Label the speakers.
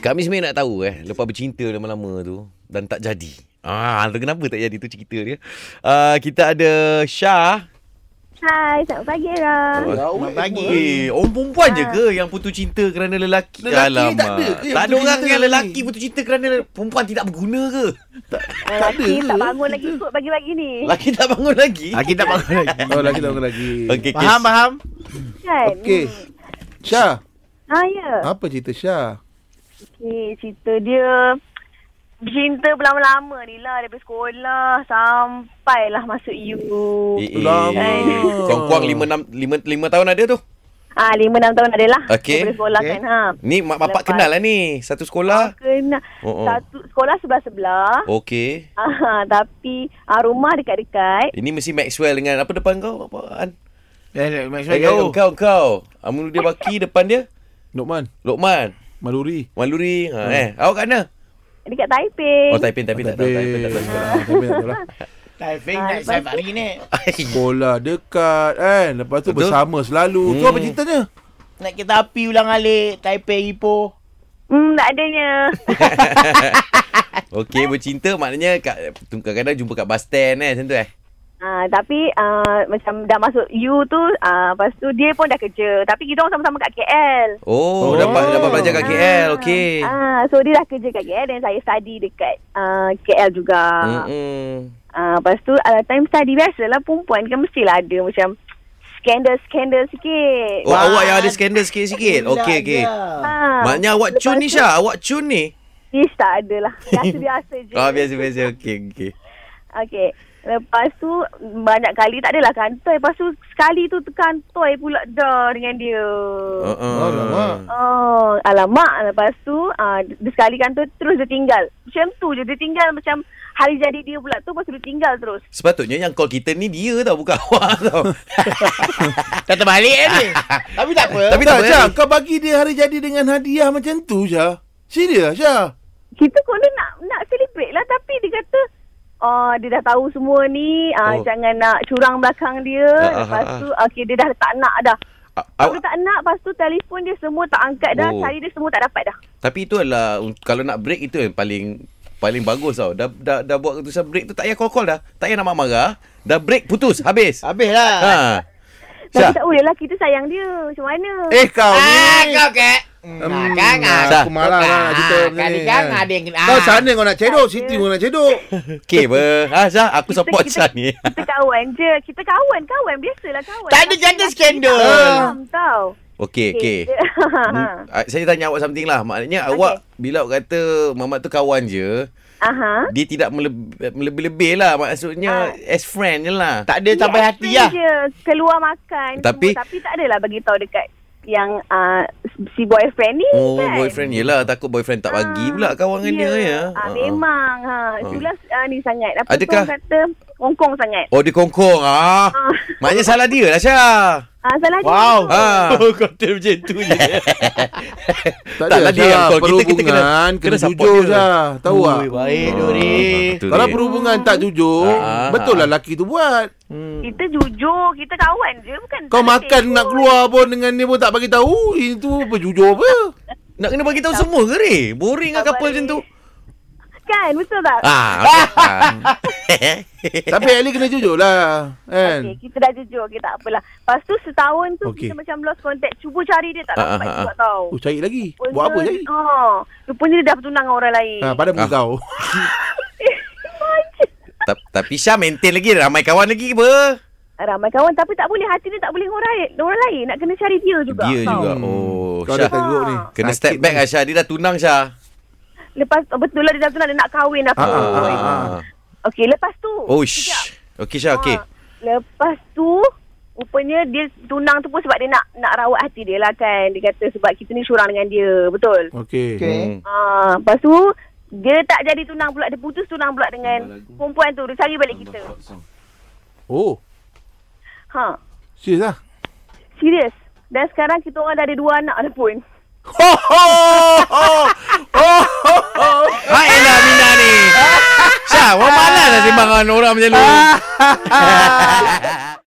Speaker 1: Kami sebenarnya nak tahu eh Lepas bercinta lama-lama tu Dan tak jadi Ah, tu kenapa tak jadi tu cerita dia uh, Kita ada Syah
Speaker 2: Hai, selamat pagi Era.
Speaker 1: Selamat pagi eh, Orang perempuan je ke Yang putus cinta kerana lelaki
Speaker 3: Ah. Lelaki tak ada ke yang
Speaker 1: Tak ada
Speaker 3: putus
Speaker 1: orang
Speaker 3: cinta
Speaker 1: yang
Speaker 3: lelaki? Eh.
Speaker 1: lelaki putus cinta kerana le- Perempuan tidak berguna ke
Speaker 2: Lelaki
Speaker 3: ada
Speaker 2: tak
Speaker 3: ke?
Speaker 2: bangun lagi kot pagi-pagi ni.
Speaker 1: Lelaki tak bangun lagi
Speaker 4: Lagi tak bangun lagi.
Speaker 3: Oh lagi tak bangun lagi
Speaker 1: Okey,
Speaker 4: Faham,
Speaker 1: kes-
Speaker 4: faham?
Speaker 2: Kan?
Speaker 3: Okey Syah
Speaker 2: Ha, ya.
Speaker 3: Apa cerita Syah
Speaker 2: Okey, cerita dia cinta berlama-lama ni lah daripada sekolah sampailah masuk U.
Speaker 1: Eh, eh.
Speaker 3: Lama.
Speaker 1: Kuang-kuang 5 tahun ada tu
Speaker 2: Ah, lima enam tahun adalah
Speaker 1: Okey.
Speaker 2: daripada sekolah
Speaker 4: Okey.
Speaker 2: kan. Ha.
Speaker 1: Ni mak bapak
Speaker 2: Lepas-
Speaker 1: kenal lah ni Satu
Speaker 2: Ah,
Speaker 1: sekolah
Speaker 2: kena
Speaker 1: Oh, oh.
Speaker 2: satu sekolah sebelah-sebelah.
Speaker 1: Okey
Speaker 2: Ah, tapi ah, rumah dekat-dekat.
Speaker 1: Ini mesti Maxwell dengan Apa depan kau? Apaan?
Speaker 4: Eh, Max
Speaker 1: Eh, kau,
Speaker 4: Max kau.
Speaker 1: kau, kau. Aminuddin Baki depan dia.
Speaker 3: Nokman
Speaker 1: Lokman.
Speaker 3: Maluri
Speaker 1: Maluri. Ha, eh. Awak kat mana?
Speaker 2: Dekat Taipei.
Speaker 1: Oh, Taipin, Taipin tak tahu. Taipin tak tahu.
Speaker 3: Tapi tak tahu lah
Speaker 4: Diving naik safari ni.
Speaker 3: Sekolah dekat kan Lepas tu
Speaker 1: Betul.
Speaker 3: bersama selalu Tu
Speaker 1: Hmm.
Speaker 3: apa ceritanya
Speaker 4: Naik kereta api ulang alik. Taipei, Ipoh.
Speaker 2: Hmm, tak adanya.
Speaker 1: Okey, bercinta maknanya kat, tu- kadang-kadang jumpa kat bus stand eh. Macam tu eh.
Speaker 2: Ah, tapi ah, macam dah masuk U tu, ah, lepas tu dia pun dah kerja. Tapi kita orang sama-sama kat KL.
Speaker 1: Oh,
Speaker 3: Oh.
Speaker 1: dapat dapat belajar kat KL. Okey.
Speaker 2: Ah, so dia dah kerja kat KL dan saya study dekat uh, KL juga. Mm-hmm.
Speaker 1: Mm-mm.
Speaker 2: Uh, lepas tu uh, time study biasalah perempuan kan mestilah ada macam skandal-skandal sikit.
Speaker 1: Oh, awak yang ada skandal sikit-sikit. Okey, okey.
Speaker 2: Ah,
Speaker 1: Maknanya awak
Speaker 2: lepas
Speaker 1: cun ni
Speaker 2: tu-
Speaker 1: Syah. Awak cun ni.
Speaker 2: Ish tak ada lah. Biasa-biasa je.
Speaker 1: Oh, biasa biasa. Okey, okey.
Speaker 2: Okey. Lepas tu banyak kali tak adalah kantoi. Lepas tu sekali tu kantoi pula dah dengan dia.
Speaker 1: Uh,
Speaker 3: Alamak.
Speaker 1: uh.
Speaker 2: Oh, alamak. Lepas tu, uh, dia sekali kan tu terus dia tinggal. Macam tu je. Dia tinggal macam hari jadi dia pula tu, lepas tu dia tinggal terus.
Speaker 1: Sepatutnya yang call kita ni dia tau bukan awak tau.
Speaker 4: Dah terbalik kan ni. Tapi tak apa.
Speaker 1: Tapi tak
Speaker 3: Tak
Speaker 1: apa.
Speaker 3: Syah Kau bagi dia hari jadi dengan hadiah macam tu Syah Serius Syah
Speaker 2: Kita konon nak nak celebrate lah tapi dia kata Oh, dia dah tahu semua ni.
Speaker 1: Oh.
Speaker 2: Uh, oh. Jangan nak curang belakang dia.
Speaker 1: Ah, ah,
Speaker 2: lepas
Speaker 1: ah,
Speaker 2: tu, okay, dia dah tak nak dah.
Speaker 1: A-
Speaker 2: Aku
Speaker 1: awak-
Speaker 2: tak nak, lepas tu telefon dia semua tak angkat dah.
Speaker 1: Oh.
Speaker 2: Cari dia semua tak dapat dah.
Speaker 1: Tapi itu adalah un- kalau nak break itu yang paling paling bagus tau. Dah dah, dah buat keputusan break tu tak payah call-call dah. Tak payah nak marah-marah. Dah break putus habis.
Speaker 4: Habis lah.
Speaker 1: Ha.
Speaker 2: Ah. Tapi
Speaker 1: Syah.
Speaker 2: tak bolehlah, kita sayang dia. Macam mana?
Speaker 3: Eh kau ni
Speaker 4: Ah, kau ke? Hmm, kan
Speaker 1: Dah.
Speaker 3: aku malah lah kita
Speaker 4: Ah,
Speaker 3: ni,
Speaker 4: kadang-kadang
Speaker 3: kan.
Speaker 4: ada yang kena-
Speaker 3: Kau
Speaker 4: ah.
Speaker 3: sana kau nak cedok Siti pun nak cedok
Speaker 1: Okay ber. Ha Syah, aku
Speaker 2: Kita-
Speaker 1: support Syah
Speaker 2: kita-
Speaker 1: ni.
Speaker 2: Kita kawan je. Kita kawan-kawan. Biasalah kawan.
Speaker 4: Tak ada jadi
Speaker 2: Laki-laki
Speaker 4: skandal.
Speaker 2: tak faham tau.
Speaker 1: Okay, okay.
Speaker 2: Ha,
Speaker 1: Hmm, ah, saya tanya awak something lah. Maknanya
Speaker 2: Okay.
Speaker 1: awak bila awak kata Mamat tu kawan je,
Speaker 2: Aha.
Speaker 1: dia tidak meleb- melebih-lebih lah. Maksudnya
Speaker 2: Ah.
Speaker 1: as friend je lah.
Speaker 4: Tak ada sampai
Speaker 2: Dia
Speaker 4: hati
Speaker 2: acting
Speaker 4: lah.
Speaker 2: Je, keluar makan.
Speaker 1: Tapi-
Speaker 2: semua. tapi tak adalah bagi tahu dekat yang uh, si boyfriend ni
Speaker 1: Oh,
Speaker 2: kan.
Speaker 1: boyfriend yelah. Takut boyfriend tak bagi pula kawan dengan dia ya.
Speaker 2: Ah,
Speaker 1: Ha, ha.
Speaker 2: memang. Ha. Itulah ah, ni sangat. Apa
Speaker 1: Adakah-
Speaker 2: Adakah? tu orang kata Hongkong sangat.
Speaker 1: Oh, dia kongkong. Ah. Maknanya salah dia lah Syah.
Speaker 2: Ah, salah
Speaker 4: Wow.
Speaker 2: dia.
Speaker 3: Ha.
Speaker 1: Ah.
Speaker 4: Oh, Kau dia macam tu je.
Speaker 1: Tak
Speaker 3: Tak
Speaker 1: lah
Speaker 3: ada
Speaker 1: dia yang
Speaker 3: Syah
Speaker 1: call. Kita-
Speaker 3: Perhubungan
Speaker 1: kita
Speaker 3: Kita
Speaker 1: kena-
Speaker 3: kena,
Speaker 1: kena
Speaker 3: kena,
Speaker 1: support
Speaker 3: jujur
Speaker 1: dia.
Speaker 3: Syah Tahu tak Oh,
Speaker 4: Baik,
Speaker 1: Ah,
Speaker 4: Dori.
Speaker 1: betul,
Speaker 3: Kalau
Speaker 1: Dek.
Speaker 3: perhubungan tak jujur
Speaker 1: Ah,
Speaker 3: Betul lah
Speaker 1: ah.
Speaker 3: lelaki tu buat
Speaker 2: Kita jujur, kita kawan je bukan. tak
Speaker 3: Kau
Speaker 2: ada
Speaker 3: makan
Speaker 2: tengok.
Speaker 3: nak keluar pun Dengan dia pun tak bagi tahu eh, Itu apa jujur apa
Speaker 1: Nak kena bagi tahu semua ke ni? Boring lah
Speaker 2: Tak
Speaker 1: couple macam
Speaker 2: boleh.
Speaker 1: tu.
Speaker 2: Kan, betul tak?
Speaker 1: Ah, okay.
Speaker 3: Tapi at least kena jujur lah
Speaker 2: Okey,
Speaker 3: Kan
Speaker 2: kita dah jujur. Okey, tak apalah. Lepas tu setahun tu okay.
Speaker 3: Okey.
Speaker 2: kita macam lost contact. Cuba cari dia tak
Speaker 1: Ah,
Speaker 2: dapat
Speaker 1: ah,
Speaker 2: juga tau.
Speaker 3: Oh cari lagi Buat apa cari
Speaker 2: Oh, rupanya dia dah bertunang dengan orang lain. Eh,
Speaker 3: Ha, pada muka
Speaker 1: Ah.
Speaker 3: kau
Speaker 1: Ah. Tapi Syah maintain lagi ramai kawan lagi apa?
Speaker 2: Ramai kawan tapi tak boleh hati dia tak boleh orang lain. Orang lain nak kena cari dia juga.
Speaker 1: Dia
Speaker 2: tau.
Speaker 1: juga. Oh,
Speaker 3: Kau dah
Speaker 1: Syah.
Speaker 3: teruk ni
Speaker 1: Kena
Speaker 3: Sakit
Speaker 1: step back
Speaker 3: ni.
Speaker 1: lah Syah. Dia dah tunang Syah.
Speaker 2: Lepas betul lah dia dah tunang dia nak kahwin dah.
Speaker 3: Ah, ah,
Speaker 1: Oh,
Speaker 3: ah, ah.
Speaker 2: Okey, lepas tu.
Speaker 1: Oh, shh. Okey Syah, okey.
Speaker 2: Ha, lepas tu rupanya dia tunang tu pun sebab dia nak nak rawat hati dia lah kan. Dia kata sebab kita ni curang dengan dia. Betul.
Speaker 3: Okey
Speaker 1: Hmm.
Speaker 4: Okay.
Speaker 2: Ah, lepas tu dia tak jadi tunang pula dia putus tunang pula dengan perempuan tu dia cari balik kita.
Speaker 3: Oh
Speaker 2: Ha.
Speaker 3: Serius lah
Speaker 2: Serius. Dan sekarang kita orang dah ada dua anak dah pun.
Speaker 3: Ho ho ho ho ho, ho
Speaker 1: Hai Ella Mina ni. Syah, orang malas lah sembang dengan orang macam lu.